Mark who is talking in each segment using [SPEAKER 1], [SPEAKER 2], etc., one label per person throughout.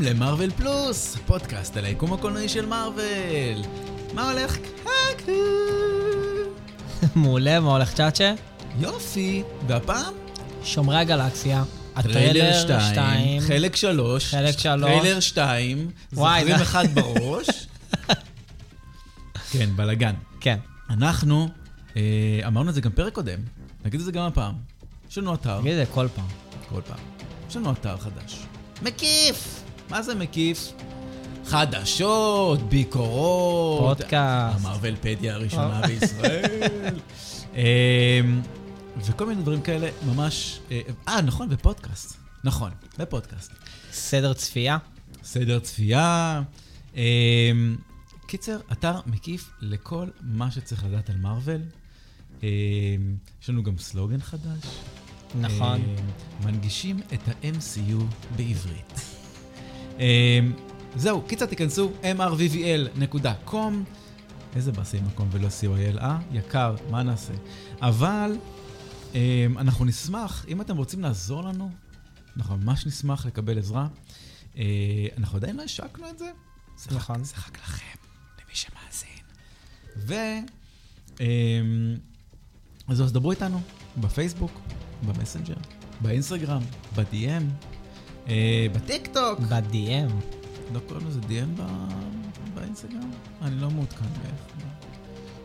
[SPEAKER 1] למרוויל פלוס, פודקאסט על היקום הקולנועי של מארוול. מה הולך? קקו?
[SPEAKER 2] מעולה, מה הולך צ'אצ'ה?
[SPEAKER 1] יופי, והפעם?
[SPEAKER 2] שומרי הגלקסיה,
[SPEAKER 1] טריילר
[SPEAKER 2] הטריילר 2,
[SPEAKER 1] חלק 3,
[SPEAKER 2] חלק שלוש.
[SPEAKER 1] טריילר 2,
[SPEAKER 2] וואי,
[SPEAKER 1] זוכרים
[SPEAKER 2] זה-
[SPEAKER 1] אחד בראש? כן, בלאגן.
[SPEAKER 2] כן,
[SPEAKER 1] אנחנו, אה, אמרנו את זה גם פרק קודם, נגיד את זה גם הפעם. יש לנו אתר,
[SPEAKER 2] תגיד את זה כל פעם.
[SPEAKER 1] כל פעם, יש לנו אתר חדש. מקיף! מה זה מקיף? חדשות, ביקורות.
[SPEAKER 2] פודקאסט.
[SPEAKER 1] המרבלפדיה הראשונה בישראל. אמ, וכל מיני דברים כאלה, ממש... אה, אה, נכון, ופודקאסט. נכון, ופודקאסט.
[SPEAKER 2] סדר צפייה,
[SPEAKER 1] סדר צפייה. אמ, קיצר, אתר מקיף לכל מה שצריך לדעת על מארוול. אמ, יש לנו גם סלוגן חדש.
[SPEAKER 2] נכון.
[SPEAKER 1] אה, מנגישים את ה-MCU בעברית. אה, זהו, קיצר תיכנסו, mrvvl.com. איזה באסי מקום ולא co.il, אה? יקר, מה נעשה? אבל אה, אנחנו נשמח, אם אתם רוצים לעזור לנו, אנחנו ממש נשמח לקבל עזרה. אה, אנחנו עדיין לא השקנו את זה. זה רק-
[SPEAKER 2] נכון.
[SPEAKER 1] זה רק לכם, למי שמאזין. ו... אה, אז אז דברו איתנו בפייסבוק, במסנג'ר, באינסטגרם, ב-DM, אה, בטיקטוק.
[SPEAKER 2] ב-DM.
[SPEAKER 1] לא קוראים לזה DM ב- באינסטגרם? אני לא מעודכן באיך.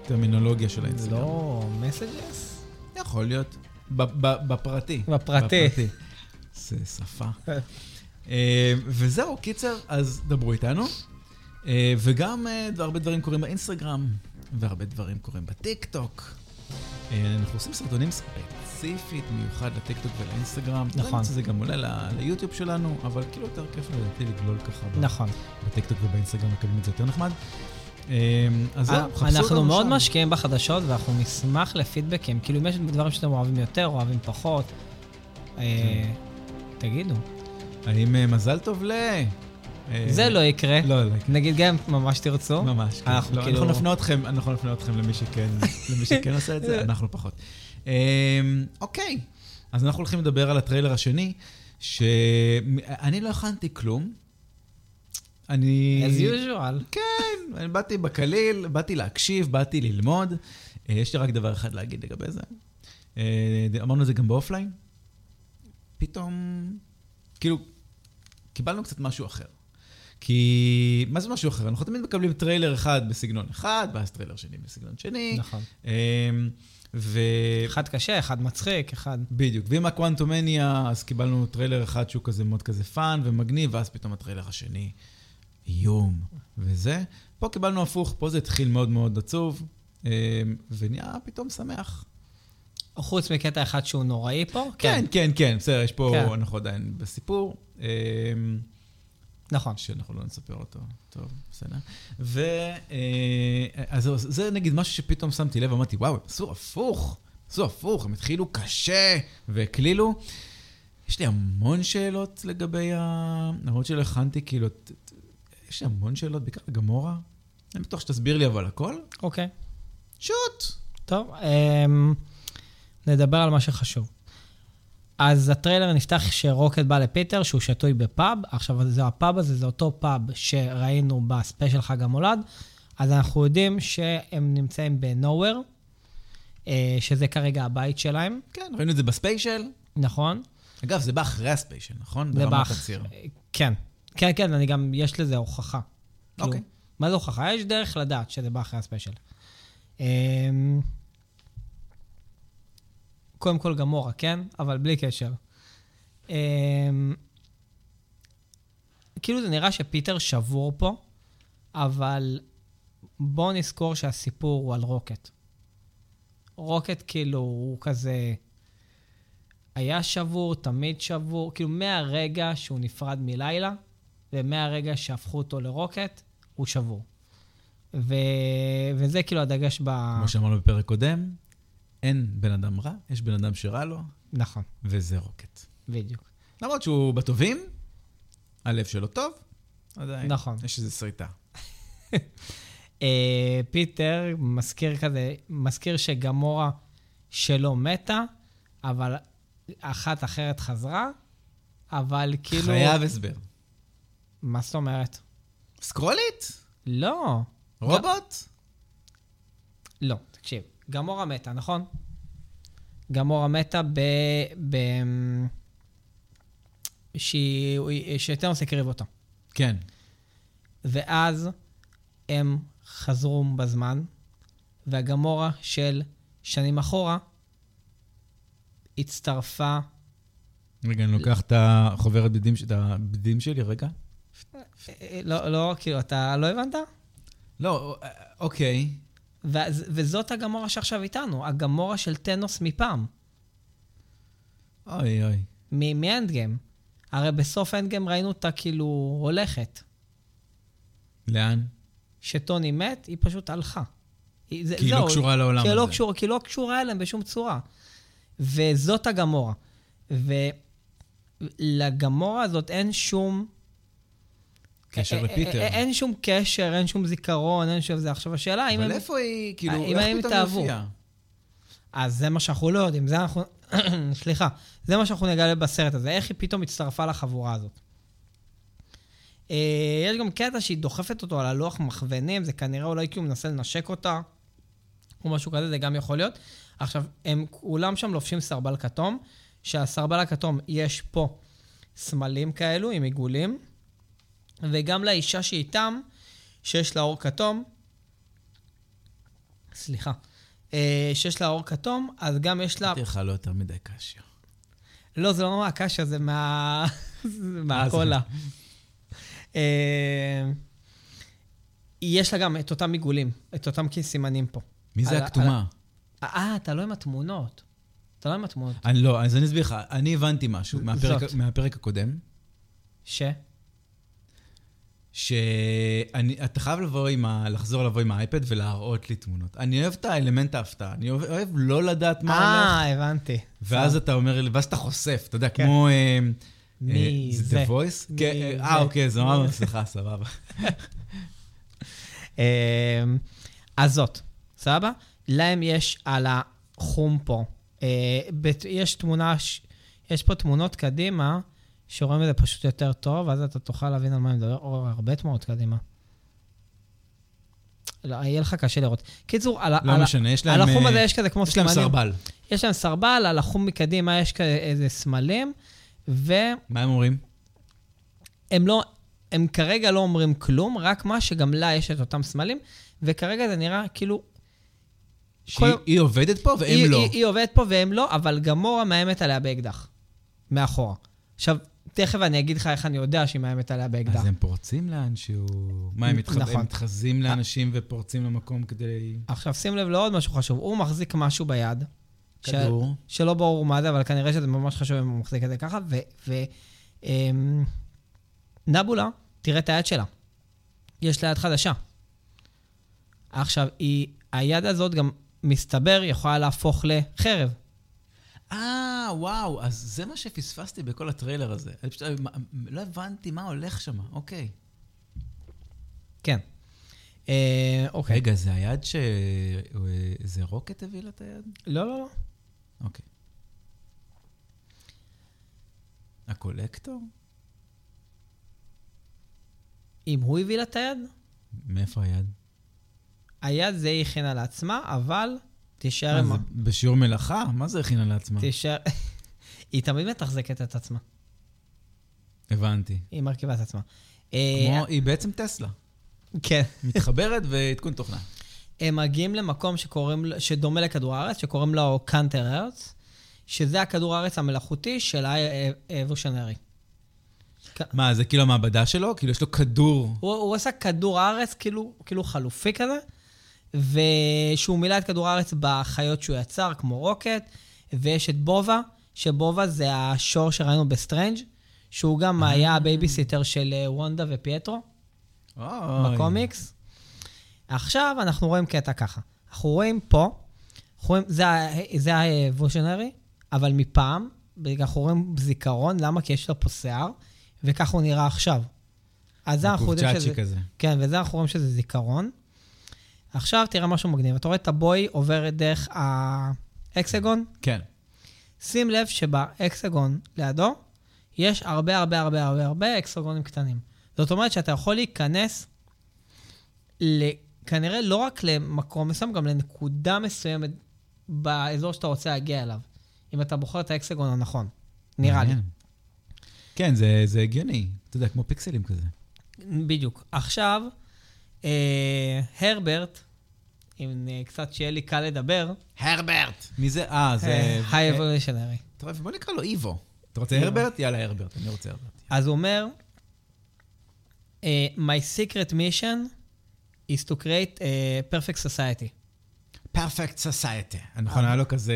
[SPEAKER 1] טרמינולוגיה של האינסטגרם.
[SPEAKER 2] לא מסג'ס?
[SPEAKER 1] יכול להיות. ב- ב- בפרטי.
[SPEAKER 2] בפרטי.
[SPEAKER 1] זה שפה. אה, וזהו, קיצר, אז דברו איתנו. אה, וגם אה, הרבה דברים קורים באינסטגרם, והרבה דברים קורים בטיקטוק. אה, אנחנו עושים סרטונים ספציפית במיוחד לטיקטוק ולאינסטגרם.
[SPEAKER 2] נכון.
[SPEAKER 1] זה גם עולה ל- ליוטיוב שלנו, אבל כאילו יותר כיף לדעתי לגלול ככה. ב-
[SPEAKER 2] נכון.
[SPEAKER 1] בטיקטוק ובאינסטגרם מקבלים את זה יותר נחמד. אה, אז זהו, חפשו אותנו שם.
[SPEAKER 2] אנחנו מאוד משקיעים בחדשות ואנחנו נשמח לפידבקים. כאילו אם יש דברים שאתם אוהבים יותר, אוהבים פחות, אה,
[SPEAKER 1] כן.
[SPEAKER 2] תגידו.
[SPEAKER 1] האם אה, מזל טוב ל... אה,
[SPEAKER 2] זה לא יקרה.
[SPEAKER 1] לא, לא,
[SPEAKER 2] נגיד גם אם ממש תרצו.
[SPEAKER 1] ממש, כן.
[SPEAKER 2] אנחנו
[SPEAKER 1] לא,
[SPEAKER 2] כאילו-
[SPEAKER 1] אנחנו נפנה אתכם, אנחנו נפנה אתכם למי שכן, למי שכן עושה את זה, אנחנו פחות. אמ, אוקיי, אז אנחנו הולכים לדבר על הטריילר השני, שאני לא הכנתי כלום. אני...
[SPEAKER 2] as usual.
[SPEAKER 1] כן, אני באתי בקליל, באתי להקשיב, באתי ללמוד. אה, יש לי רק דבר אחד להגיד לגבי זה. אה, אמרנו את זה גם באופליין. פתאום, כאילו, קיבלנו קצת משהו אחר. כי, מה זה משהו אחר? אנחנו תמיד מקבלים טריילר אחד בסגנון אחד, ואז טריילר שני בסגנון שני.
[SPEAKER 2] נכון.
[SPEAKER 1] אה, ו...
[SPEAKER 2] אחד קשה, אחד מצחיק, אחד...
[SPEAKER 1] בדיוק, ועם הקוואנטומניה, אז קיבלנו טריילר אחד שהוא כזה מאוד כזה פאן ומגניב, ואז פתאום הטריילר השני, איום וזה. פה קיבלנו הפוך, פה זה התחיל מאוד מאוד עצוב, אה, ונהיה פתאום שמח.
[SPEAKER 2] חוץ מקטע אחד שהוא נוראי פה.
[SPEAKER 1] כן, כן, כן, בסדר, יש פה,
[SPEAKER 2] כן.
[SPEAKER 1] אנחנו עדיין בסיפור, אה,
[SPEAKER 2] נכון.
[SPEAKER 1] שאנחנו לא נספר אותו, טוב, בסדר. ו... אה, אז זהו, זה נגיד משהו שפתאום שמתי לב, אמרתי, וואו, הם עשו הפוך, עשו הפוך, הם התחילו קשה, והקלילו. יש לי המון שאלות לגבי ה... למרות שלא הכנתי, כאילו, ת- ת- יש לי המון שאלות, בעיקר לגמורה. אני בטוח שתסביר לי אבל הכל.
[SPEAKER 2] אוקיי.
[SPEAKER 1] שוט!
[SPEAKER 2] טוב, אמ, נדבר על מה שחשוב. אז הטריילר נפתח כשרוקט בא לפיטר, שהוא שתוי בפאב. עכשיו, זה הפאב הזה, זה אותו פאב שראינו בספיישל חג המולד. אז אנחנו יודעים שהם נמצאים בנוהוור, שזה כרגע הבית שלהם,
[SPEAKER 1] כן, ראינו את זה בספיישל.
[SPEAKER 2] נכון?
[SPEAKER 1] אגב, זה בא אחרי הספיישל, נכון?
[SPEAKER 2] זה
[SPEAKER 1] ברמת
[SPEAKER 2] באח-
[SPEAKER 1] הציר.
[SPEAKER 2] כן. כן, כן, אני גם, יש לזה הוכחה. כאילו,
[SPEAKER 1] אוקיי.
[SPEAKER 2] מה זה הוכחה? יש דרך לדעת שזה בא אחרי הספיישל. אמ, קודם כל גמורה, כן? אבל בלי קשר. אמ, כאילו זה נראה שפיטר שבור פה, אבל בואו נזכור שהסיפור הוא על רוקט. רוקט כאילו הוא כזה... היה שבור, תמיד שבור, כאילו מהרגע שהוא נפרד מלילה, ומהרגע שהפכו אותו לרוקט, הוא שבור. ו... וזה כאילו הדגש ב...
[SPEAKER 1] כמו שאמרנו בפרק קודם, אין בן אדם רע, יש בן אדם שרע לו,
[SPEAKER 2] נכון,
[SPEAKER 1] וזה רוקט.
[SPEAKER 2] בדיוק.
[SPEAKER 1] למרות שהוא בטובים, הלב שלו טוב, עדיין.
[SPEAKER 2] נכון.
[SPEAKER 1] יש איזו שריטה.
[SPEAKER 2] אה, פיטר מזכיר כזה, מזכיר שגמורה שלו מתה, אבל אחת אחרת חזרה, אבל כאילו...
[SPEAKER 1] חייב הסבר.
[SPEAKER 2] מה זאת אומרת?
[SPEAKER 1] סקרולית?
[SPEAKER 2] לא.
[SPEAKER 1] רובוט?
[SPEAKER 2] לא, תקשיב. גמורה מתה, נכון? גמורה מתה ב... ב... שהיא... שטרנוס הקריב אותו.
[SPEAKER 1] כן.
[SPEAKER 2] ואז הם חזרו בזמן, והגמורה של שנים אחורה הצטרפה...
[SPEAKER 1] רגע, אני לוקח את החוברת בדים, ש- את הבדים שלי, רגע.
[SPEAKER 2] לא, לא, כאילו, אתה לא הבנת?
[SPEAKER 1] לא, א- אוקיי.
[SPEAKER 2] ואז, וזאת הגמורה שעכשיו איתנו, הגמורה של טנוס מפעם,
[SPEAKER 1] אוי אוי.
[SPEAKER 2] מ- מאנדגיים. הרי בסוף אנדגיים ראינו אותה כאילו הולכת.
[SPEAKER 1] לאן?
[SPEAKER 2] אה, שטוני מת, היא פשוט הלכה. היא- זה-
[SPEAKER 1] כי היא לא
[SPEAKER 2] זהו,
[SPEAKER 1] קשורה לעולם
[SPEAKER 2] כי היא לא
[SPEAKER 1] הזה.
[SPEAKER 2] קשורה, כי היא לא קשורה אליהם בשום צורה. וזאת הגמורה. ולגמורה הזאת אין שום...
[SPEAKER 1] קשר
[SPEAKER 2] א- א-
[SPEAKER 1] לפיטר.
[SPEAKER 2] א- אין שום קשר, אין שום זיכרון, אין שום זה. עכשיו, השאלה אם...
[SPEAKER 1] אבל
[SPEAKER 2] הם-
[SPEAKER 1] איפה היא, כאילו,
[SPEAKER 2] אם
[SPEAKER 1] איך
[SPEAKER 2] הם
[SPEAKER 1] פתאום
[SPEAKER 2] התאהבו?
[SPEAKER 1] הופיעה?
[SPEAKER 2] אז זה מה שאנחנו לא יודעים, זה אנחנו... סליחה, זה מה שאנחנו נגלה בסרט הזה, איך היא פתאום הצטרפה לחבורה הזאת. אה, יש גם קטע שהיא דוחפת אותו על הלוח מכוונים, זה כנראה אולי כי הוא מנסה לנשק אותה, או משהו כזה, זה גם יכול להיות. עכשיו, הם כולם שם לובשים סרבל כתום, שהסרבל הכתום יש פה סמלים כאלו עם עיגולים, וגם לאישה שאיתם, שיש לה אור כתום, סליחה, אה, שיש לה אור כתום, אז גם יש לה...
[SPEAKER 1] נתתי לך לא יותר מדי קשיו.
[SPEAKER 2] לא, זה לא מהקשה, זה מה... זה מהקולה. אה, יש לה גם את אותם עיגולים, את אותם סימנים פה.
[SPEAKER 1] מי זה
[SPEAKER 2] על ה- על
[SPEAKER 1] הכתומה?
[SPEAKER 2] ה- אה, אתה לא עם התמונות. אתה לא עם התמונות.
[SPEAKER 1] אני לא, אז אני אסביר לך. אני הבנתי משהו מהפרק-
[SPEAKER 2] זאת.
[SPEAKER 1] מהפרק הקודם,
[SPEAKER 2] ש?
[SPEAKER 1] שאתה חייב לבוא עם ה... לחזור לבוא עם האייפד ולהראות לי תמונות. אני אוהב את האלמנט ההפתעה. אני אוהב- אוהב לא לדעת מה הולך.
[SPEAKER 2] אה, הבנתי.
[SPEAKER 1] ואז אתה אומר לי, ואז אתה חושף, אתה יודע, כמו... אה,
[SPEAKER 2] מי
[SPEAKER 1] אה,
[SPEAKER 2] זה?
[SPEAKER 1] The Voice?
[SPEAKER 2] מי
[SPEAKER 1] כן, אה,
[SPEAKER 2] זה?
[SPEAKER 1] אה, אוקיי, אז אמרנו, סליחה, סבבה.
[SPEAKER 2] אה, אז זאת, סבבה? להם יש על החום פה. אה, בת- יש תמונה, ש- יש פה תמונות קדימה, שרואים את זה פשוט יותר טוב, ואז אתה תוכל להבין על מה אני מדבר, או הרבה תמונות קדימה. לא, יהיה לך קשה לראות. קיצור, על, ה- על,
[SPEAKER 1] לא
[SPEAKER 2] ה-
[SPEAKER 1] משנה, יש להם...
[SPEAKER 2] על החום
[SPEAKER 1] אה,
[SPEAKER 2] הזה יש כזה כמו
[SPEAKER 1] יש להם
[SPEAKER 2] סימנים.
[SPEAKER 1] סרבל.
[SPEAKER 2] יש להם סרבל, על החום מקדימה יש כזה איזה סמלים, והם
[SPEAKER 1] מה הם אומרים?
[SPEAKER 2] לא, הם כרגע לא אומרים כלום, רק מה שגם לה יש את אותם סמלים, וכרגע זה נראה כאילו כל-
[SPEAKER 1] שהיא היא עובדת פה
[SPEAKER 2] היא,
[SPEAKER 1] והם לא.
[SPEAKER 2] היא, היא עובדת פה והם לא, אבל גמורה מאיימת עליה באקדח. מאחורה. עכשיו, תכף אני אגיד לך איך אני יודע שהיא מאיימת עליה באקדח.
[SPEAKER 1] אז הם פורצים לאנשהו... מה, הם מתח-
[SPEAKER 2] נכון.
[SPEAKER 1] הם מתחזים לאנשים ופורצים למקום כדי...
[SPEAKER 2] עכשיו, שים לב לעוד משהו חשוב. הוא מחזיק משהו ביד. ש-
[SPEAKER 1] כדור.
[SPEAKER 2] שלא ברור מה זה, אבל כנראה שזה ממש חשוב אם הוא מחזיק את זה ככה. ו... ו אמ, נבולה, תראה את היד שלה. יש לה יד חדשה. עכשיו, היא, היד הזאת גם, מסתבר, יכולה להפוך לחרב.
[SPEAKER 1] אה, וואו, אז זה מה שפספסתי בכל הטריילר הזה. אני פשוט אה, מה- לא הבנתי מה הולך שם, אוקיי.
[SPEAKER 2] כן. אה, אוקיי.
[SPEAKER 1] רגע, זה היד ש... אה, זה רוקט הביא לה את היד?
[SPEAKER 2] לא, לא, לא.
[SPEAKER 1] אוקיי. הקולקטור?
[SPEAKER 2] אם הוא הביא לה את היד,
[SPEAKER 1] מאיפה היד?
[SPEAKER 2] היד זה היא הכינה לעצמה, אבל תישאר עם...
[SPEAKER 1] מה,
[SPEAKER 2] ה-
[SPEAKER 1] זה בשיעור מלאכה? מה זה הכינה לעצמה?
[SPEAKER 2] תישאר... היא תמיד מתחזקת את עצמה.
[SPEAKER 1] הבנתי.
[SPEAKER 2] היא מרכיבה את עצמה. אה,
[SPEAKER 1] כמו, היא בעצם טסלה.
[SPEAKER 2] כן.
[SPEAKER 1] מתחברת ועדכון תוכנה.
[SPEAKER 2] הם מגיעים למקום שקוראים, ל- שדומה לכדור הארץ, שקוראים לו קאנטר ארץ, שזה הכדור הארץ המלאכותי של אה, האבושנרי.
[SPEAKER 1] מה, זה כאילו המעבדה שלו? כאילו יש לו כדור.
[SPEAKER 2] הוא, הוא עשה כדור הארץ כאילו, כאילו חלופי כזה, ושהוא מילא את כדור הארץ בחיות שהוא יצר, כמו רוקט, ויש את בובה, שבובה זה השור שראינו בסטרנג', שהוא גם היה הבייביסיטר של אה, וונדה ופייטרו
[SPEAKER 1] אוי.
[SPEAKER 2] בקומיקס. עכשיו אנחנו רואים קטע ככה. אנחנו רואים פה, אנחנו רואים, זה, ה- זה הוושנרי, אבל מפעם, אנחנו רואים זיכרון, למה? כי יש לו פה שיער, וכך הוא נראה עכשיו. אז זה אנחנו יודעים שזה...
[SPEAKER 1] קופצ'אצ'י כזה.
[SPEAKER 2] כן, וזה אנחנו רואים שזה זיכרון. עכשיו תראה משהו מגניב. אתה רואה את הבוי עובר דרך האקסגון?
[SPEAKER 1] כן.
[SPEAKER 2] שים לב שבאקסגון לידו יש הרבה הרבה הרבה הרבה הרבה אקסגונים קטנים. זאת אומרת שאתה יכול להיכנס ל- כנראה לא רק למקום מסוים, גם לנקודה מסוימת באזור שאתה רוצה להגיע אליו, אם אתה בוחר את האקסגון הנכון, נראה לי.
[SPEAKER 1] מעניין. כן, זה, זה הגיוני. אתה יודע, כמו פיקסלים כזה.
[SPEAKER 2] בדיוק. עכשיו, אה, הרברט, אם אה, קצת שיהיה לי קל לדבר,
[SPEAKER 1] הרברט! מי זה? אה, זה...
[SPEAKER 2] היי אבולושיונרי.
[SPEAKER 1] טוב, בוא נקרא לו איבו. אתה רוצה
[SPEAKER 2] איבו.
[SPEAKER 1] הרברט? יאללה, הרברט. אני רוצה הרברט.
[SPEAKER 2] אז הוא אומר, אה, My secret mission is to create a perfect society.
[SPEAKER 1] פרפקט סוסייטי. נכון, היה לו כזה...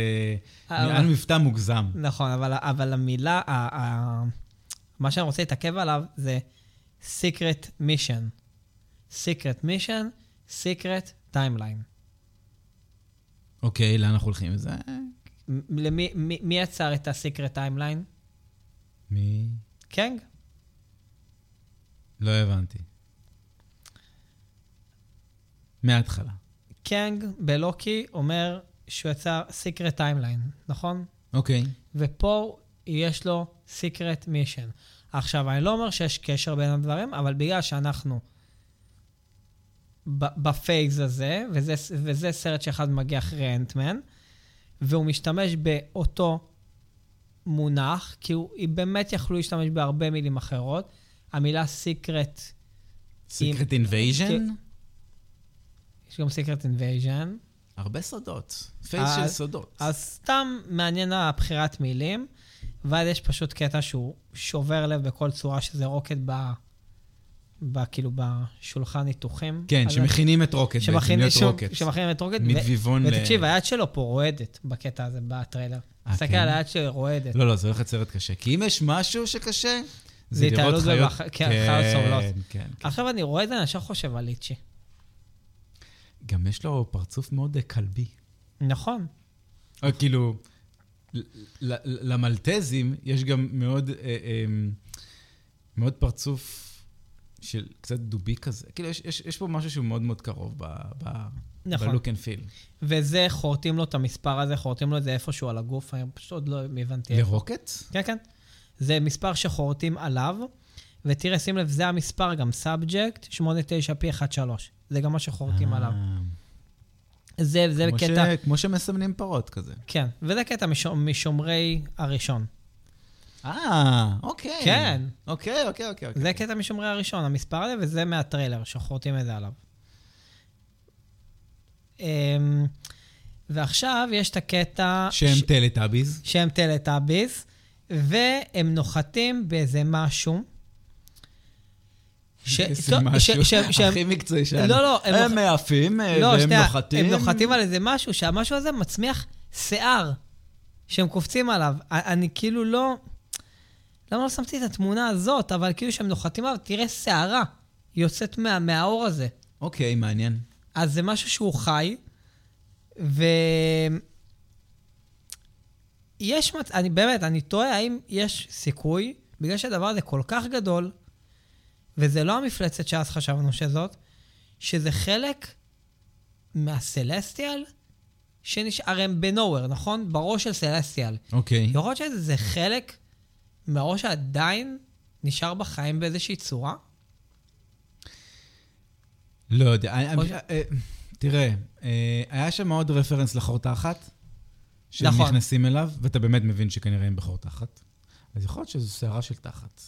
[SPEAKER 2] אה,
[SPEAKER 1] היה לו מבטא מוגזם.
[SPEAKER 2] נכון, אבל, אבל המילה, ה, ה, מה שאני רוצה להתעכב עליו זה secret mission. secret mission, secret timeline.
[SPEAKER 1] אוקיי, לאן אנחנו הולכים עם זה?
[SPEAKER 2] מ- למי, מי, מי יצר את ה-secret timeline?
[SPEAKER 1] מי?
[SPEAKER 2] קנג?
[SPEAKER 1] לא הבנתי. מההתחלה.
[SPEAKER 2] קנג בלוקי אומר שהוא יצר secret timeline, נכון?
[SPEAKER 1] אוקיי.
[SPEAKER 2] ופה יש לו secret mission. עכשיו, אני לא אומר שיש קשר בין הדברים, אבל בגלל שאנחנו ב- בפייז הזה, וזה, וזה סרט שאחד מגיע אחרי אנטמן, והוא משתמש באותו מונח, כי הוא היא באמת יכלו להשתמש בהרבה מילים אחרות. המילה secret,
[SPEAKER 1] סיקרט אינבייז'ן?
[SPEAKER 2] כן. יש גם secret invasion.
[SPEAKER 1] הרבה סודות. פייס של
[SPEAKER 2] אז-
[SPEAKER 1] סודות.
[SPEAKER 2] אז סתם מעניין הבחירת מילים, ואז יש פשוט קטע שהוא שובר לב בכל צורה, שזה רוקט ב... ב... כאילו בשולחן ניתוחים.
[SPEAKER 1] כן,
[SPEAKER 2] אז-
[SPEAKER 1] שמכינים את רוקט בעצם,
[SPEAKER 2] שמכין-
[SPEAKER 1] להיות
[SPEAKER 2] ש-
[SPEAKER 1] רוקט.
[SPEAKER 2] אה, שמכינים את רוקט. ו-
[SPEAKER 1] מדביבון ל-
[SPEAKER 2] ותקשיב, היד שלו פה רועדת בקטע הזה, בטריילר.
[SPEAKER 1] אה,
[SPEAKER 2] תסתכל
[SPEAKER 1] כן?
[SPEAKER 2] על היד שלו, היא רועדת.
[SPEAKER 1] לא, לא, זה הולך להיות סרט קשה. כי אם יש משהו שקשה,
[SPEAKER 2] זה
[SPEAKER 1] זה לראות
[SPEAKER 2] התעללות
[SPEAKER 1] חיות...
[SPEAKER 2] בבח- כן, חיות סובלות.
[SPEAKER 1] כן, כן.
[SPEAKER 2] עכשיו אני רואה את זה, אני ישר חושב על ליצ'י.
[SPEAKER 1] גם יש לו פרצוף מאוד אה, כלבי.
[SPEAKER 2] נכון.
[SPEAKER 1] אה, כאילו, ל- ל- למלטזים יש גם מאוד, אה, אה, מאוד פרצוף של קצת דובי כזה. כאילו, יש, יש, יש פה משהו שהוא מאוד מאוד קרוב ב... ב...
[SPEAKER 2] נכון.
[SPEAKER 1] בלוק אנד פיל.
[SPEAKER 2] וזה, חורטים לו את המספר הזה, חורטים לו את זה איפשהו על הגוף, אני פשוט עוד לא הבנתי איפה.
[SPEAKER 1] לרוקט?
[SPEAKER 2] כן, כן. זה מספר שחורטים עליו, ותראה, שים לב, זה המספר גם, סאבג'קט 89P13. זה גם מה שחורטים עליו.
[SPEAKER 1] אה,
[SPEAKER 2] זה, זה
[SPEAKER 1] כמו
[SPEAKER 2] קטע...
[SPEAKER 1] ש- כמו שמסמנים פרות כזה.
[SPEAKER 2] כן, וזה קטע משו- משומרי הראשון.
[SPEAKER 1] אה, אוקיי.
[SPEAKER 2] כן.
[SPEAKER 1] אוקיי, אוקיי, אוקיי.
[SPEAKER 2] זה קטע משומרי הראשון, המספר הזה, וזה מהטריילר, שחורטים את זה עליו. אמ, ועכשיו יש את הקטע...
[SPEAKER 1] שהם
[SPEAKER 2] ש-
[SPEAKER 1] טלטאביז.
[SPEAKER 2] שהם טלטאביס, והם נוחתים באיזה משהו. ש-
[SPEAKER 1] איזה
[SPEAKER 2] טוב, ש-
[SPEAKER 1] משהו
[SPEAKER 2] ש- שהם-
[SPEAKER 1] הכי מקצועי שלנו.
[SPEAKER 2] לא, לא, הם
[SPEAKER 1] הם
[SPEAKER 2] נוח-
[SPEAKER 1] מעפים, אה,
[SPEAKER 2] לא,
[SPEAKER 1] והם
[SPEAKER 2] שנייה,
[SPEAKER 1] נוחתים.
[SPEAKER 2] הם נוחתים על איזה משהו, שהמשהו הזה מצמיח שיער שהם קופצים עליו. א- אני כאילו לא... למה לא שמתי את התמונה הזאת, אבל כאילו שהם נוחתים עליו, תראה שערה יוצאת מה, מהאור הזה.
[SPEAKER 1] אוקיי, מעניין.
[SPEAKER 2] אז זה משהו שהוא חי, ו... יש מצב, אני באמת, אני תוהה האם יש סיכוי, בגלל שהדבר הזה כל כך גדול, וזה לא המפלצת שאז חשבנו שזאת, שזה חלק מהסלסטיאל, שנשאר, הרי הם בנוהוור, נכון? בראש של סלסטיאל.
[SPEAKER 1] אוקיי.
[SPEAKER 2] יכול להיות שזה חלק מהראש שעדיין נשאר בחיים באיזושהי צורה?
[SPEAKER 1] לא יודע, אני-
[SPEAKER 2] או
[SPEAKER 1] אני-
[SPEAKER 2] ש-
[SPEAKER 1] אה, תראה, אה, היה שם עוד רפרנס לחור תחת, שהם
[SPEAKER 2] נכון.
[SPEAKER 1] נכנסים אליו, ואתה באמת מבין שכנראה הם בחור תחת. אז יכול להיות שזו שערה של תחת.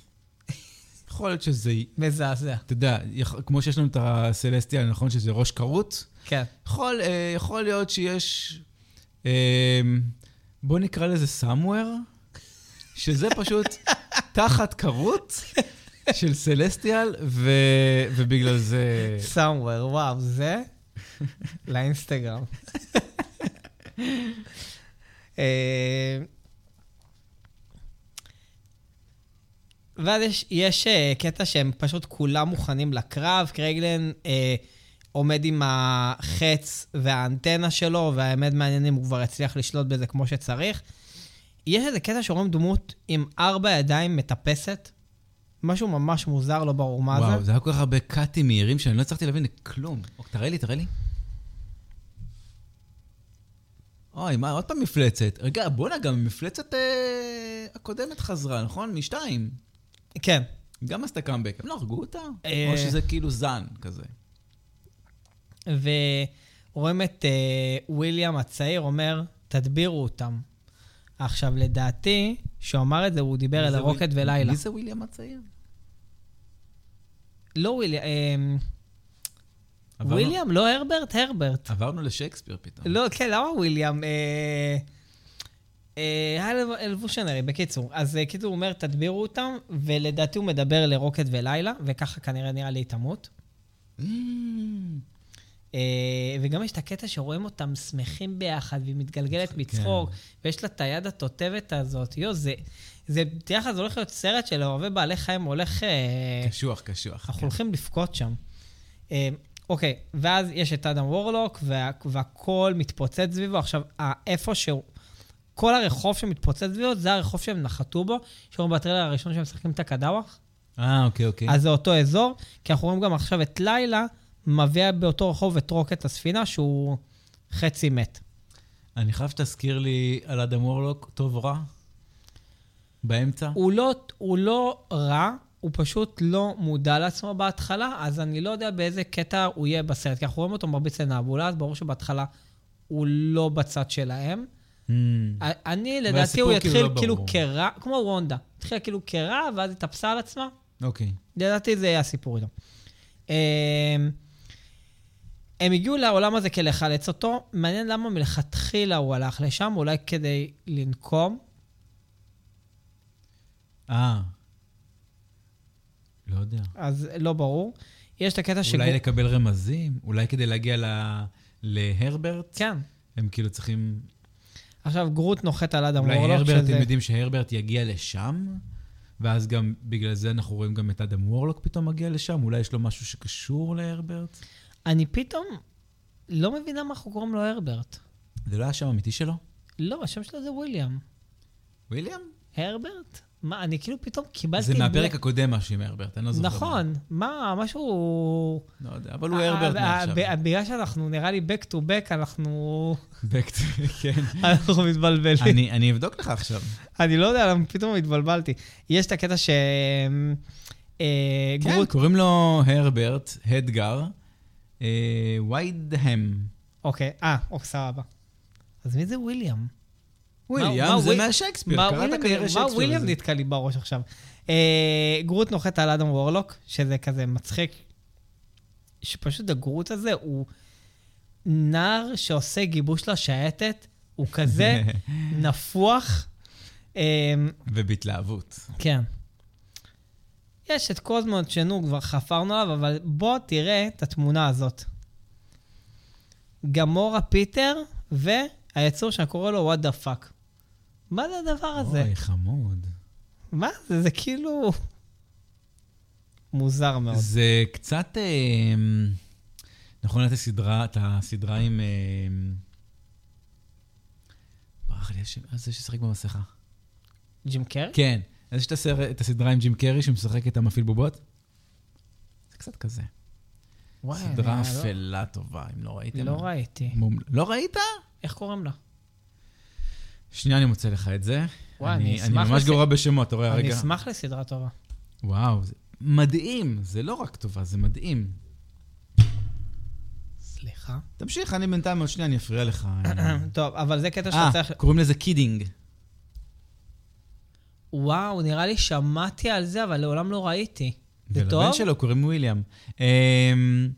[SPEAKER 1] יכול להיות שזה,
[SPEAKER 2] מזעזע.
[SPEAKER 1] אתה יודע, יכ- כמו שיש לנו את הסלסטיאל, נכון שזה ראש כרות?
[SPEAKER 2] כן.
[SPEAKER 1] יכול, אה, יכול להיות שיש, אה, בוא נקרא לזה סאמוור, שזה פשוט תחת כרות של סלסטיאל, ו, ובגלל זה...
[SPEAKER 2] somewhere, וואו, זה לאינסטגרם. אה, ואז יש, יש אה, קטע שהם פשוט כולם מוכנים לקרב, קרייגלן אה, עומד עם החץ והאנטנה שלו, והאמת מעניין אם הוא כבר יצליח לשלוט בזה כמו שצריך. יש איזה קטע שרואים דמות עם ארבע ידיים מטפסת, משהו ממש מוזר, לא ברור מה
[SPEAKER 1] וואו,
[SPEAKER 2] זה.
[SPEAKER 1] זה היה כל כך הרבה קאטים מהירים שאני לא הצלחתי להבין כלום. או, תראה לי, תראה לי. אוי, מה, עוד פעם מפלצת. רגע, בואנה, גם המפלצת אה, הקודמת חזרה, נכון? משתיים.
[SPEAKER 2] כן.
[SPEAKER 1] גם עשתה קאמבק, הם לא הרגו אותה?
[SPEAKER 2] אה.
[SPEAKER 1] או שזה כאילו זן כזה.
[SPEAKER 2] ורואים את אה, וויליאם הצעיר אומר, תדבירו אותם. עכשיו, לדעתי, כשהוא אמר את זה, הוא דיבר
[SPEAKER 1] מי
[SPEAKER 2] אל
[SPEAKER 1] זה
[SPEAKER 2] הרוקט
[SPEAKER 1] וויל-
[SPEAKER 2] ולילה.
[SPEAKER 1] מי זה וויליאם הצעיר?
[SPEAKER 2] לא וויליאם, אה,
[SPEAKER 1] עברנו-
[SPEAKER 2] וויליאם, לא הרברט, הרברט.
[SPEAKER 1] עברנו לשייקספיר פתאום.
[SPEAKER 2] לא, כן, למה וויליאם? אה, אה, היה אלבושנרי, בקיצור. אז אה, קיצור, הוא אומר, תדבירו אותם, ולדעתי הוא מדבר לרוקט ולילה, וככה כנראה נראה לי היא תמות.
[SPEAKER 1] Mm,
[SPEAKER 2] אה, וגם יש את הקטע שרואים אותם שמחים ביחד, והיא מתגלגלת מצחוק, ויש לה את היד התותבת הזאת. יו, זה, זה, תדע לך, זה הולך להיות סרט של אוהבי בעלי חיים, הולך... אה,
[SPEAKER 1] קשוח, קשוח. כן.
[SPEAKER 2] אנחנו הולכים לבכות שם. אה, אוקיי, ואז יש את אדם וורלוק, וה, והכל מתפוצץ סביבו. עכשיו, ה- איפה שהוא... כל הרחוב שמתפוצץ סביבו, זה הרחוב שהם נחתו בו, שאומרים בטריילר הראשון שהם משחקים את הקדאווח.
[SPEAKER 1] אה, אוקיי, אוקיי.
[SPEAKER 2] אז זה אותו אזור, כי אנחנו רואים גם עכשיו את לילה, מביאה באותו רחוב את רוקט הספינה, שהוא חצי מת.
[SPEAKER 1] אני חייב שתזכיר לי על אדם וורלוק, טוב או רע? באמצע?
[SPEAKER 2] הוא לא, הוא לא רע, הוא פשוט לא מודע לעצמו בהתחלה, אז אני לא יודע באיזה קטע הוא יהיה בסרט. כי אנחנו רואים אותו מרביץ לנעבולה, אז ברור שבהתחלה הוא לא בצד שלהם.
[SPEAKER 1] Mm.
[SPEAKER 2] א- אני,
[SPEAKER 1] והסיפור
[SPEAKER 2] לדעתי, הוא
[SPEAKER 1] כאילו
[SPEAKER 2] יתחיל
[SPEAKER 1] לא
[SPEAKER 2] כאילו
[SPEAKER 1] ברור.
[SPEAKER 2] כרע, כמו רונדה. התחילה כאילו כרע, ואז התאפסה על עצמה.
[SPEAKER 1] אוקיי.
[SPEAKER 2] לדעתי זה יהיה הסיפור איתו. אמ, הם הגיעו לעולם הזה כדי לחלץ אותו, מעניין למה מלכתחילה הוא הלך לשם, אולי כדי לנקום.
[SPEAKER 1] אה. לא יודע.
[SPEAKER 2] אז לא ברור. יש את הקטע
[SPEAKER 1] אולי לקבל רמזים? אולי כדי להגיע ל- להרברט?
[SPEAKER 2] כן.
[SPEAKER 1] הם כאילו צריכים...
[SPEAKER 2] עכשיו, גרוט נוחת על אדם
[SPEAKER 1] אולי
[SPEAKER 2] וורלוק,
[SPEAKER 1] הרברט,
[SPEAKER 2] שזה...
[SPEAKER 1] הם יודעים שהרברט יגיע לשם? ואז גם, בגלל זה אנחנו רואים גם את אדם וורלוק פתאום מגיע לשם? אולי יש לו משהו שקשור להרברט?
[SPEAKER 2] אני פתאום לא מבין למה אנחנו קוראים לו הרברט.
[SPEAKER 1] זה לא היה שם אמיתי שלו?
[SPEAKER 2] לא, השם שלו זה וויליאם.
[SPEAKER 1] וויליאם?
[SPEAKER 2] הרברט? מה, אני כאילו פתאום קיבלתי...
[SPEAKER 1] זה
[SPEAKER 2] בלק-
[SPEAKER 1] מהפרק הקודם משהו עם הרברט, אני לא זוכר.
[SPEAKER 2] נכון, מה, משהו...
[SPEAKER 1] מה. לא יודע, אבל הוא
[SPEAKER 2] אה,
[SPEAKER 1] הרברט
[SPEAKER 2] אה,
[SPEAKER 1] מעכשיו.
[SPEAKER 2] ב- בגלל שאנחנו, נראה לי, back to back, אנחנו
[SPEAKER 1] Back to- כן.
[SPEAKER 2] אנחנו מתבלבלים.
[SPEAKER 1] אני- אני אבדוק לך עכשיו.
[SPEAKER 2] אני לא יודע למה פתאום התבלבלתי. יש את הקטע ש... אה,
[SPEAKER 1] כן,
[SPEAKER 2] גרוט...
[SPEAKER 1] קוראים לו הרברט, הדגר, אה, ויידהם.
[SPEAKER 2] אוקיי, אה, אוקיי, סבבה. אז מי זה וויליאם?
[SPEAKER 1] וויליאם
[SPEAKER 2] מה
[SPEAKER 1] זה
[SPEAKER 2] וויל-
[SPEAKER 1] מהשייקספיר,
[SPEAKER 2] מה
[SPEAKER 1] קראת
[SPEAKER 2] וויליאם-
[SPEAKER 1] כנראה
[SPEAKER 2] מה וויליאם
[SPEAKER 1] שייקספיר.
[SPEAKER 2] נתקע לי בראש עכשיו? אה, גרוט נוחת על אדם וורלוק, שזה כזה מצחיק, שפשוט הגרוט הזה הוא נער שעושה גיבוש לשייטת, הוא כזה נפוח. אה,
[SPEAKER 1] ובהתלהבות.
[SPEAKER 2] כן. יש את קוזמונד שנו, כבר חפרנו עליו, אבל בוא תראה את התמונה הזאת. גמורה פיטר והיצור שאני קורא לו what the fuck. מה זה הדבר הזה?
[SPEAKER 1] אוי, חמוד.
[SPEAKER 2] מה זה? זה כאילו... מוזר מאוד.
[SPEAKER 1] זה קצת... אה, נכון, את הסדרה, את הסדרה עם... אה, ברח לי השם, אה, זה ששיחק במסכה.
[SPEAKER 2] ג'ים קרי?
[SPEAKER 1] כן, אז יש את הסר- את הסדרה עם ג'ים קרי שמשחק את המפעיל בובות? זה קצת כזה.
[SPEAKER 2] וואי, אני
[SPEAKER 1] סדרה
[SPEAKER 2] לא-
[SPEAKER 1] אפלה טובה, אם לא ראיתם.
[SPEAKER 2] לא ראיתי.
[SPEAKER 1] מומ- לא ראית?
[SPEAKER 2] איך קוראים לה?
[SPEAKER 1] שנייה, אני מוצא לך את זה.
[SPEAKER 2] וואי, אני אשמח
[SPEAKER 1] אני ממש
[SPEAKER 2] לס-
[SPEAKER 1] גרוע בשמות, אתה רואה
[SPEAKER 2] אני
[SPEAKER 1] רגע.
[SPEAKER 2] אשמח לסדרה טובה.
[SPEAKER 1] וואו, זה מדהים, זה לא רק טובה, זה מדהים.
[SPEAKER 2] סליחה.
[SPEAKER 1] תמשיך, אני בינתיים, עוד שנייה, אני אפריע לך.
[SPEAKER 2] טוב, אבל זה קטע שאתה
[SPEAKER 1] אה,
[SPEAKER 2] צריך...
[SPEAKER 1] קוראים לזה קידינג.
[SPEAKER 2] וואו, נראה לי שמעתי על זה, אבל לעולם לא ראיתי. זה
[SPEAKER 1] ולבן
[SPEAKER 2] טוב?
[SPEAKER 1] שלו קוראים וויליאם. אמ,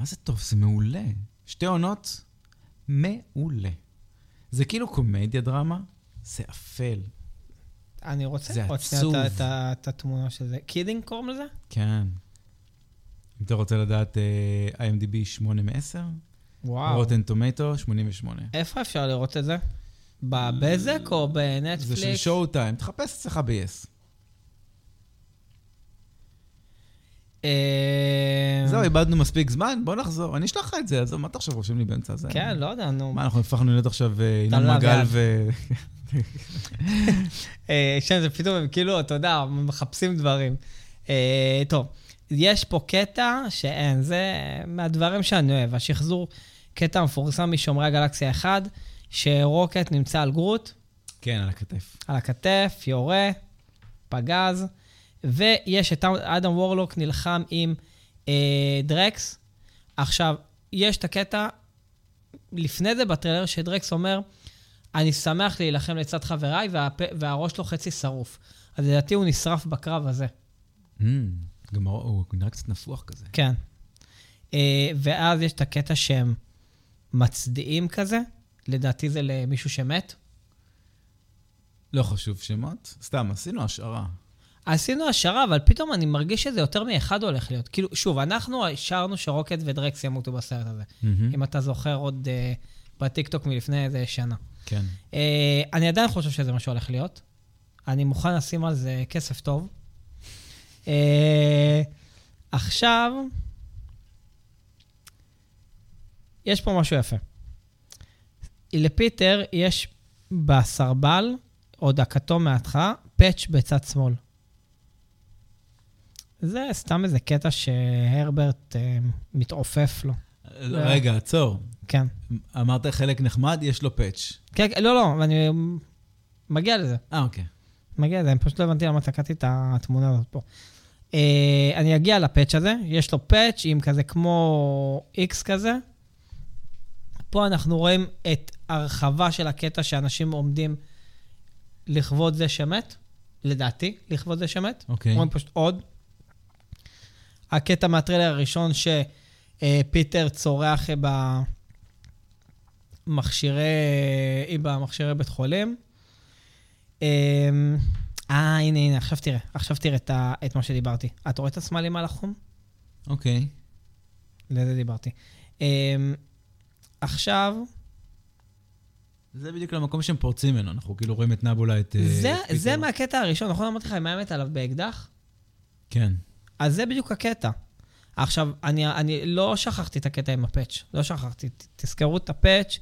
[SPEAKER 1] מה זה טוב? זה מעולה. שתי עונות, מעולה. זה כאילו קומדיה דרמה, זה אפל.
[SPEAKER 2] אני רוצה
[SPEAKER 1] זה
[SPEAKER 2] לראות שנייה
[SPEAKER 1] עצוב.
[SPEAKER 2] את ה- את ה- את התמונה של זה. קידינג קוראים לזה?
[SPEAKER 1] כן. אם אתה רוצה לדעת, אה, IMDb 8 מ-10,
[SPEAKER 2] וואו.
[SPEAKER 1] רוטן טומטו 88.
[SPEAKER 2] איפה אפשר לראות את זה? בבזק או בנטפליקס?
[SPEAKER 1] זה של שואו טיים, תחפש אצלך ב-yes.
[SPEAKER 2] אה,
[SPEAKER 1] זהו, איבדנו מספיק זמן, בוא נחזור. אני אשלח לך את זה, עזוב, מה אתה עכשיו רושם לי באמצע הזה?
[SPEAKER 2] כן, לא יודע, נו.
[SPEAKER 1] מה, אנחנו הפכנו להיות עכשיו אה, ינון
[SPEAKER 2] טל
[SPEAKER 1] מגל
[SPEAKER 2] אביעד.
[SPEAKER 1] ו...
[SPEAKER 2] אה, שם זה פתאום הם כאילו, אתה יודע, מחפשים דברים. אה, טוב, יש פה קטע שאין, זה מהדברים שאני אוהב. השחזור, קטע מפורסם משומרי הגלקסיה 1, שרוקט נמצא על גרוט,
[SPEAKER 1] כן, על הכתף.
[SPEAKER 2] על הכתף, יורה, פגז, ויש את אדם וורלוק נלחם עם אה, דרקס. עכשיו, יש את הקטע לפני זה בטריילר שדרקס אומר, אני שמח להילחם לצד חבריי, והפה, והראש לו חצי שרוף. אז לדעתי הוא נשרף בקרב הזה.
[SPEAKER 1] Mm, גם הרוא- הוא נראה קצת נפוח כזה.
[SPEAKER 2] כן. אה, ואז יש את הקטע שהם מצדיעים כזה, לדעתי זה למישהו שמת.
[SPEAKER 1] לא חשוב שמות, סתם, עשינו השערה.
[SPEAKER 2] עשינו השערה, אבל פתאום אני מרגיש שזה יותר מאחד הולך להיות. כאילו, שוב, אנחנו השערנו שרוקט ודרקס ימותו בסרט הזה.
[SPEAKER 1] מהמם.
[SPEAKER 2] אם אתה זוכר עוד אה, בטיקטוק מלפני איזה שנה.
[SPEAKER 1] כן.
[SPEAKER 2] אה, אני עדיין חושב שזה מה שהולך להיות. אני מוכן לשים על זה כסף טוב. אה, עכשיו, יש פה משהו יפה. לפיטר יש בסרבל, עוד הכתום מההתחלה, פאץ' בצד שמאל. זה סתם איזה קטע שהרברט אה, מתעופף לו.
[SPEAKER 1] רגע, עצור.
[SPEAKER 2] כן.
[SPEAKER 1] אמרת חלק נחמד, יש לו פאץ'.
[SPEAKER 2] כן, כן, לא, לא, אני מגיע לזה.
[SPEAKER 1] אה, אוקיי.
[SPEAKER 2] מגיע לזה, אני פשוט לא הבנתי למה תקעתי את התמונה הזאת פה. אה, אני אגיע לפאץ' הזה, יש לו פאץ' עם כזה כמו איקס כזה. פה אנחנו רואים את הרחבה של הקטע שאנשים עומדים לכבוד זה שמת, לדעתי, לכבוד זה שמת.
[SPEAKER 1] אוקיי.
[SPEAKER 2] רואים פשוט עוד. הקטע מהטריילר הראשון שפיטר צורח במכשירי, אה, במכשירי בית חולים. אמ, אה, הנה, הנה, עכשיו תראה, עכשיו תראה את, ה, את מה שדיברתי. את רואה את הסמלים על החום?
[SPEAKER 1] אוקיי.
[SPEAKER 2] לזה דיברתי. אמ, עכשיו,
[SPEAKER 1] זה בדיוק למקום שהם פורצים ממנו, אנחנו כאילו רואים את נבולה, את... אה,
[SPEAKER 2] זה,
[SPEAKER 1] את פיטר.
[SPEAKER 2] זה מהקטע הראשון, נכון? אמרתי לך, היא מאיימת עליו באקדח?
[SPEAKER 1] כן.
[SPEAKER 2] אז זה בדיוק הקטע. עכשיו, אני, אני לא שכחתי את הקטע עם הפאץ', לא שכחתי. ת, תזכרו את הפאץ',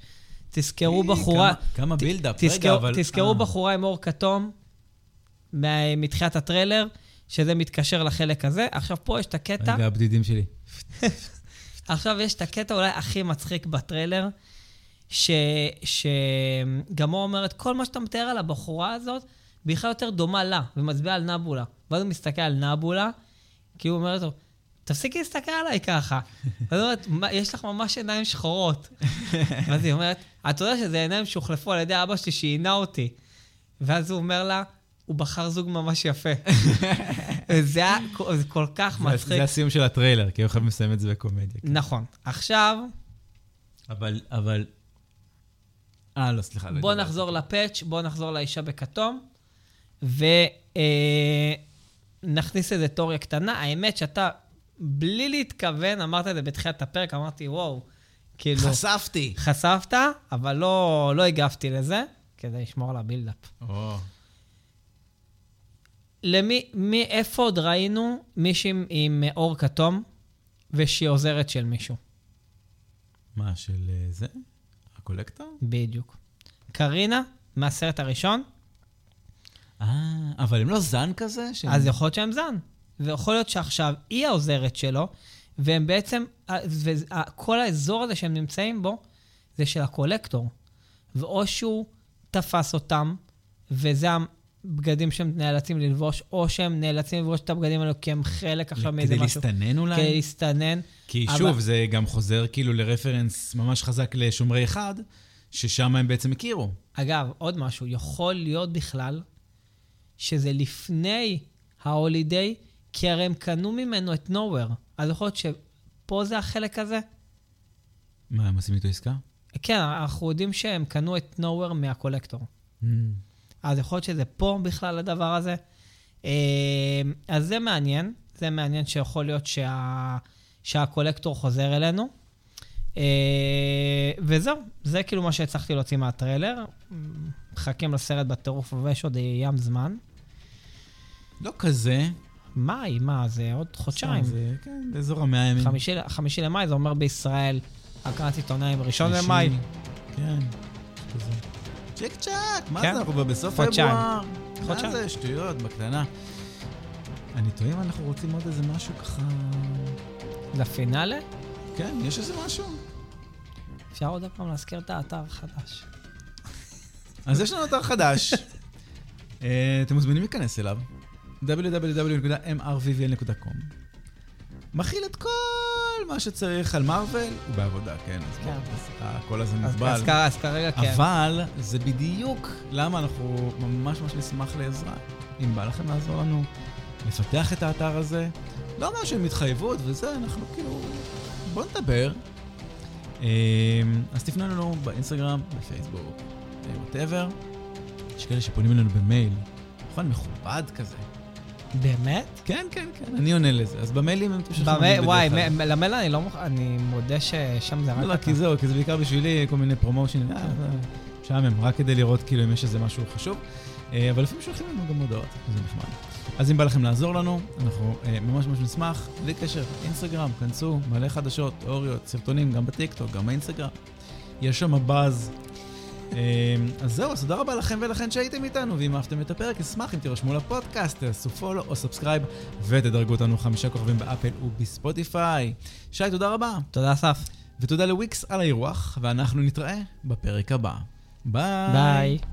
[SPEAKER 2] תזכרו
[SPEAKER 1] אי,
[SPEAKER 2] בחורה...
[SPEAKER 1] אה, כמה- כמה בילדאפ, רגע,
[SPEAKER 2] תזכרו,
[SPEAKER 1] אבל...
[SPEAKER 2] תזכרו
[SPEAKER 1] אה,
[SPEAKER 2] בחורה עם אור כתום מה- מתחילת הטריילר, שזה מתקשר לחלק הזה. עכשיו, פה יש את הקטע...
[SPEAKER 1] רגע, הבדידים שלי.
[SPEAKER 2] עכשיו יש את הקטע אולי הכי מצחיק בטריילר, שגם הוא אומרת, כל מה שאתה מתאר על הבחורה הזאת, בכלל יותר דומה לה, ומצביע על נבולה. ואז הוא מסתכל על נבולה, כאילו הוא אומר לו, תפסיקי להסתכל עליי ככה. ואז היא אומרת, "מה, יש לך ממש עיניים שחורות. ואז היא אומרת, את יודעת שזה עיניים שהוחלפו על ידי אבא שלי שעינה אותי. ואז הוא אומר לה, הוא בחר זוג ממש יפה. זה היה זה כל כך
[SPEAKER 1] זה
[SPEAKER 2] מצחיק.
[SPEAKER 1] זה הסיום של הטריילר, כי הם יכולים לסיים את זה בקומדיה.
[SPEAKER 2] נכון. עכשיו,
[SPEAKER 1] אבל, אבל... אה, לא, סליחה. לא
[SPEAKER 2] בוא
[SPEAKER 1] יודע.
[SPEAKER 2] נחזור לפאץ', בוא נחזור לאישה בכתום, ונכניס איזה תיאוריה קטנה. האמת שאתה, בלי להתכוון, אמרת את זה בתחילת הפרק, אמרתי, וואו, כאילו,
[SPEAKER 1] חשפתי!
[SPEAKER 2] חשפת, אבל לא, לא הגבתי לזה, כדי לשמור על הבילדאפ.
[SPEAKER 1] או,
[SPEAKER 2] למי, מי, איפה עוד ראינו מישהי עם, עם אור כתום, ושהיא עוזרת של מישהו?
[SPEAKER 1] מה, של אה, זה? הקולקטור?
[SPEAKER 2] בדיוק. קרינה, מהסרט הראשון,
[SPEAKER 1] אה, אבל הם לא זן כזה? שהם-
[SPEAKER 2] אז יכול להיות שהם זן. ויכול להיות שעכשיו היא העוזרת שלו, והם בעצם, וכל האזור הזה שהם נמצאים בו, זה של הקולקטור. ואו שהוא תפס אותם, וזה הבגדים שהם נאלצים ללבוש, או שהם נאלצים ללבוש את הבגדים האלו כי הם חלק עכשיו מאיזה
[SPEAKER 1] כדי
[SPEAKER 2] משהו.
[SPEAKER 1] להסתנן
[SPEAKER 2] כדי
[SPEAKER 1] אולי?
[SPEAKER 2] להסתנן.
[SPEAKER 1] כי
[SPEAKER 2] אבל-
[SPEAKER 1] שוב, זה גם חוזר כאילו לרפרנס ממש חזק לשומרי אחד, ששם הם בעצם הכירו.
[SPEAKER 2] אגב, עוד משהו, יכול להיות בכלל שזה לפני ההולידיי, כי הרי הם קנו ממנו את נוואר. אז יכול להיות שפה זה החלק הזה?
[SPEAKER 1] מה, הם עושים איתו עסקה?
[SPEAKER 2] כן, אנחנו יודעים שהם קנו את נוואר מהקולקטור. אז יכול להיות שזה פה בכלל הדבר הזה. אה, אז זה מעניין, זה מעניין שיכול להיות שה... שהקולקטור חוזר אלינו. אה, וזהו, זה כאילו מה שהצלחתי להוציא מהטריילר. מחכים לסרט בטירוף ויש עוד ים זמן.
[SPEAKER 1] לא כזה.
[SPEAKER 2] מאי, מה, זה עוד חודשיים.
[SPEAKER 1] סתם, זה, כן, באזור המאה ימים.
[SPEAKER 2] חמישי, חמישי למאי, זה אומר בישראל, הקראת עיתונאים ראשון
[SPEAKER 1] חמישי.
[SPEAKER 2] למאי.
[SPEAKER 1] כן. כזה. צ'יק צ'אק, מה
[SPEAKER 2] כן.
[SPEAKER 1] זה, אנחנו כבר בסוף
[SPEAKER 2] חודשיים.
[SPEAKER 1] פברואר. מה
[SPEAKER 2] חודשיים.
[SPEAKER 1] זה, שטויות, בקטנה. אני תוהה אם אנחנו רוצים עוד איזה משהו ככה...
[SPEAKER 2] לפינאלה?
[SPEAKER 1] כן, יש איזה משהו.
[SPEAKER 2] אפשר עוד פעם להזכיר את האתר החדש.
[SPEAKER 1] אז יש לנו אתר חדש. אה, אתם מוזמנים להיכנס אליו. www.mrvvl.com מכיל את כל מה שצריך על מארוול, הוא בעבודה, כן, אז
[SPEAKER 2] כן.
[SPEAKER 1] בואו, אז הכל הזה
[SPEAKER 2] אז-
[SPEAKER 1] מוגבל.
[SPEAKER 2] אז כ- אז כרגע כן.
[SPEAKER 1] אבל זה בדיוק למה אנחנו ממש ממש נשמח לעזרה. אם בא לכם לעזור לנו לפתח את האתר הזה, לא משהו עם התחייבות וזה, אנחנו כאילו... בואו נדבר. אמ, אז תפנו אלינו באינסטגרם, בפייסבוק, וואטאבר. יש כאלה שפונים אלינו במייל, נכון? מכובד כזה.
[SPEAKER 2] באמת?
[SPEAKER 1] כן, כן, כן, אני עונה לזה. אז במיילים הם פשוט...
[SPEAKER 2] במייל, וואי, מ- מ- למייל אני לא מוכן, אני מודה ששם זה רק...
[SPEAKER 1] לא,
[SPEAKER 2] אתה.
[SPEAKER 1] כי זהו, כי זה בעיקר בשבילי כל מיני פרומושנים. אה, זה משעמם, רק כדי לראות כאילו אם יש איזה משהו חשוב. אה, אבל לפעמים שולחים לנו גם הודעות, זה נחמד. אז אם בא לכם לעזור לנו, אנחנו אה, ממש ממש נשמח. בלי קשר, אינסטגרם, כנסו, מלא חדשות, תיאוריות, סרטונים, גם בטיקטוק, גם באינסטגרם. יש שם הבאז. אה, אז זהו, אז תודה רבה לכם ולכן שהייתם איתנו, ואם אהבתם את הפרק, אשמח אם תירשמו לפודקאסט, תעשו follow או סאבסקרייב, ותדרגו אותנו חמישה כוכבים באפל ובספוטיפיי. שי, תודה רבה.
[SPEAKER 2] תודה, אסף.
[SPEAKER 1] ותודה לוויקס על האירוח, ואנחנו נתראה בפרק הבא. ביי.
[SPEAKER 2] ביי.